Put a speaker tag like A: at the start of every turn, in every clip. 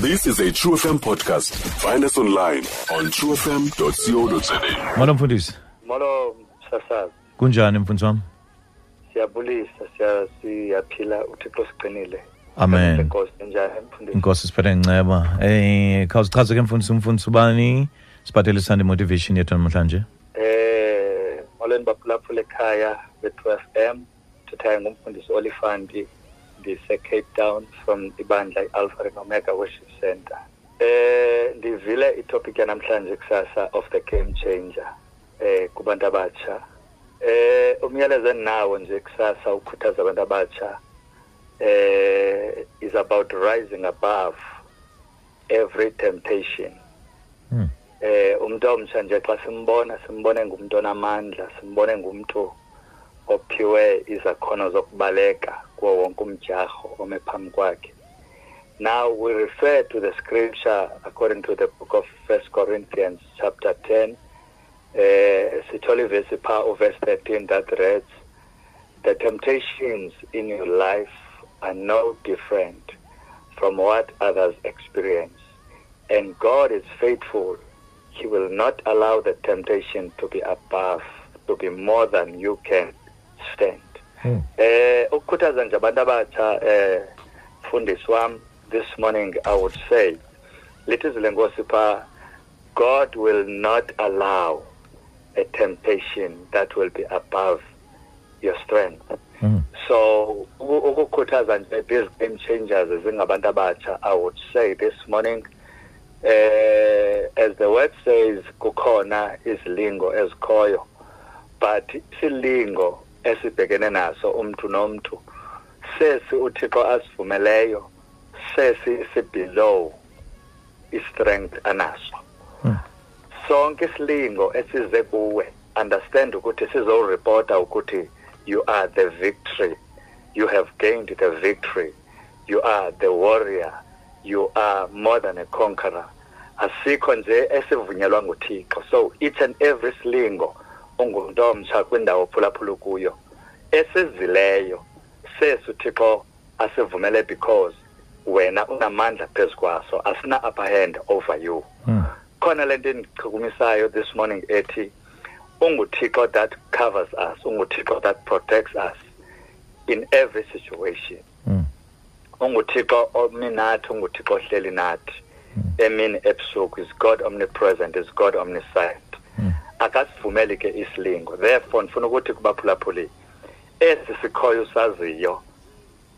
A: This is a True FM podcast. Find us online on truefm.co.za.
B: Molo mfundisi,
C: Molo msasazi
B: kunjani mfundisi wami?
C: siyabulisa siya- siyaphila uthixo siqinile
B: Amen.
C: Enkosi, njani mfundisi
B: Inkosi siphethe nginceba. Eh, khawusichaze ke mfundisi umfundisi ubani? Siphathele Sunday motivation yethu namhlanje.
C: eh molweni baphulaphula ekhaya be-2 fm thuthaya ngumfundisi olifanti ndise-cape town from ibandla i-alpha and omega worship center eh ndivile itopic yanamhlanje kusasa of the game changer eh kubantu abatsha eh umyalezo endinawo nje kusasa ukhuthaza abantu abatsha eh is about rising above every temptation
B: Hmm.
C: eh umuntu omtsha nje xa simbona simbone ngumuntu onamandla simbone ngumuntu ophiwe izakhono zokubaleka kuwo wonke umjaho ome phambi kwakhe now we refer to the scripture according to the book of first corinthians chapter 10 eh sithole ivesi pha uverse 13 that reads the temptations in your life are no different from what others experience. And God is faithful. He will not allow the temptation to be above, to be more than you can stand.
B: Hmm.
C: Eh ukukhuthaza nje abantu abatsha eh mfundisi wami this morning I would say lithi zilenkosi pha God will not allow a temptation that will be above your strength
B: Mm.
C: so uku- ukukhuthaza nje these game changers zingabantu abatsha i would say this morning eh as the word says kukhona izilingo ezikhoyo but isilingo esibhekene naso umuntu nomuntu sesi uthixo asivumeleyo sesi sibelow i-strength anaso
B: Hmm.
C: sonke isilingo esize kuwe understand ukuthi sizowuripota ukuthi you are the victory you have gained the victory you are the warrior you are more than a conqueror asikho nje esivunyelwa nguthixo so each and every silingo ungumntu omtsha kwindawo phulaphula kuyo esizileyo sesu thixo asivumele because wena unamandla phezu kwaso asina upper hand over you
B: Hmm.
C: khona lento endichukumisayo this morning ethi unguthixo that covers us unguthixo that protects us in every situation
B: Hmm.
C: unguthixo omi nathi unguthixo ohleli nathi
B: Hmm.
C: emini ebusuku is god omnipresent is god omniscient
B: Mm.
C: akasivumeli ke isilingo therefore ndifuna ukuthi kubaphulaphuli esi sikhoyo saziyo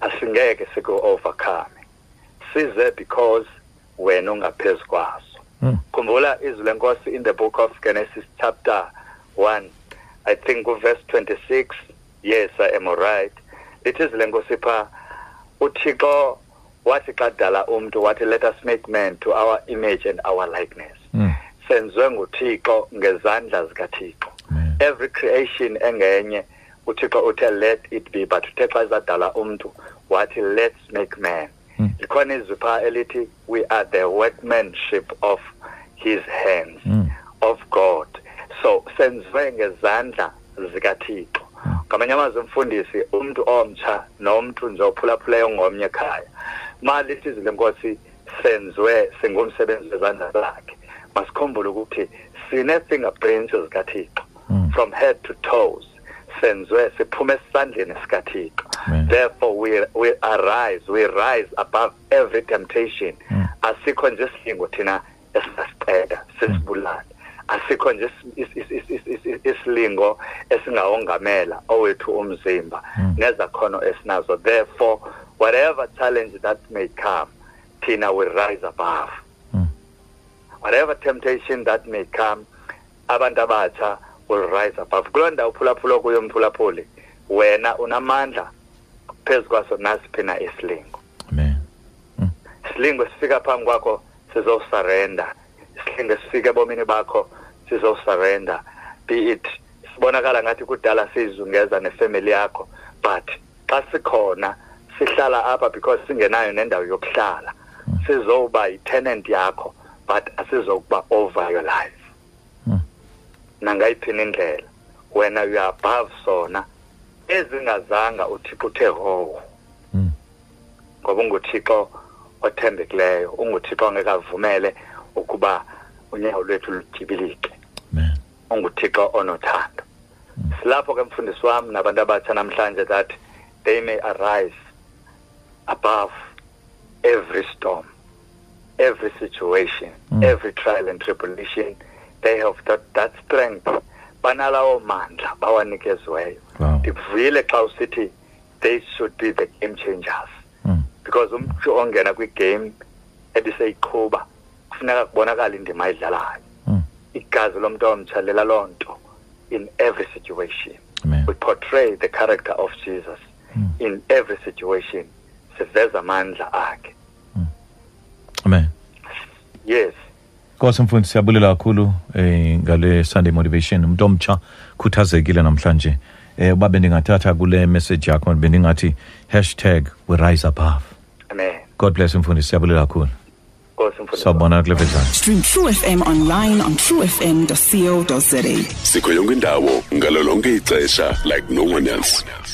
C: asingeke siku-overcome size because wena ungaphezu kwaso
B: Hmm.
C: khumbula izwi lenkosi in the book of genesis chapter 1 i think verse 26 yes i am right lithi izwi lenkosi pha uthixo wathi xa dala umntu wathi let us make man to our image and our likeness
B: Hmm.
C: senziwe nguthixo ngezandla zikathixo
B: Amen.
C: every creation engenye uthixo uthe let it be but uthe xa zadala umntu wathi let's make man
B: Mm.
C: likhona izwi phaa elithi we are the workmanship of his hands
B: Mm.
C: of god so senziwe ngezandla zikathixo ngamanye amazwi umfundisi umntu omtsha nomntu nje ophulaphuleyo ngomnye ekhaya malithi izwi lenkosi senziwe singumsebenzi wezandla zakhe masikhumbule ukuthi sine-fingerprints zikathixo
B: Mm.
C: from head to toes senziwe siphume esandleni sikathixo
B: Amen.
C: therefore we, we arise we rise above every temptation
B: Mm.
C: asikho nje isilingo thina esingasiqeda sisibulale asikho nje is- is- is- is- is- is- isilingo esingawongamela owethu umzimba
B: Mm.
C: nezakhono esinazo therefore whatever challenge that may come thina we rise above
B: Mm.
C: whatever temptation that may come abantu abatsha will rise above kuloo ndawo uphulaphula kuyo mphulaphuli wena unamandla phezu kwaso nasiphi na isilingo
B: Amen.
C: isilingo sifika phambi kwakho sizowusarenda isilingo sifika ebomini bakho sizowusarenda be it sibonakala ngathi kudala siyizungeza nefemeli yakho but xa sikhona sihlala apha because singenayo nendawo yokuhlala sizowuba yitenant yakho but asizokuba over your life
B: Hmm.
C: nangayiphi indlela wena you are above sona ezingazanga uthixo uthe howo
B: Hmm.
C: ngoba unguthixo othembekileyo unguthixo ongekavumele ukuba unyawo lwethu lujibilike
B: man
C: unguthixo onothando silapho ke mfundisi wam nabantu abatsha namhlanje that they may arise above every storm every situation
B: Mm.
C: every trial and tribulation they have that, that strength banalawo mandla bawanikeziweyo
B: wow
C: ndivuyile xa usithi they should be the game changers
B: Mm.
C: because umntu ongena kwigame ebiseyiqhuba kufuneka kubonakala indima ayidlalayo
B: Mm.
C: igazi lomntu omtsha lela loo nto in every situation
B: amen
C: we portray the character of jesus
B: Mm.
C: in every situation siveza amandla akhe
B: amen
C: yes
B: Nkosi mfundisi siyabulela kakhulu eh ngale Sunday motivation umuntu omtsha khuthazekile namhlanje eh uba bendingathatha kule message yakho bendingathi hashtag we rise above
C: amen
B: God bless mfundisi siyabulela kakhulu
C: nkosi mfundisi wam.
B: sawubona kule vezana
D: Stream True FM online on truefm.co.za.
A: sikho yonke indawo ngalo lonke ixesha like no one else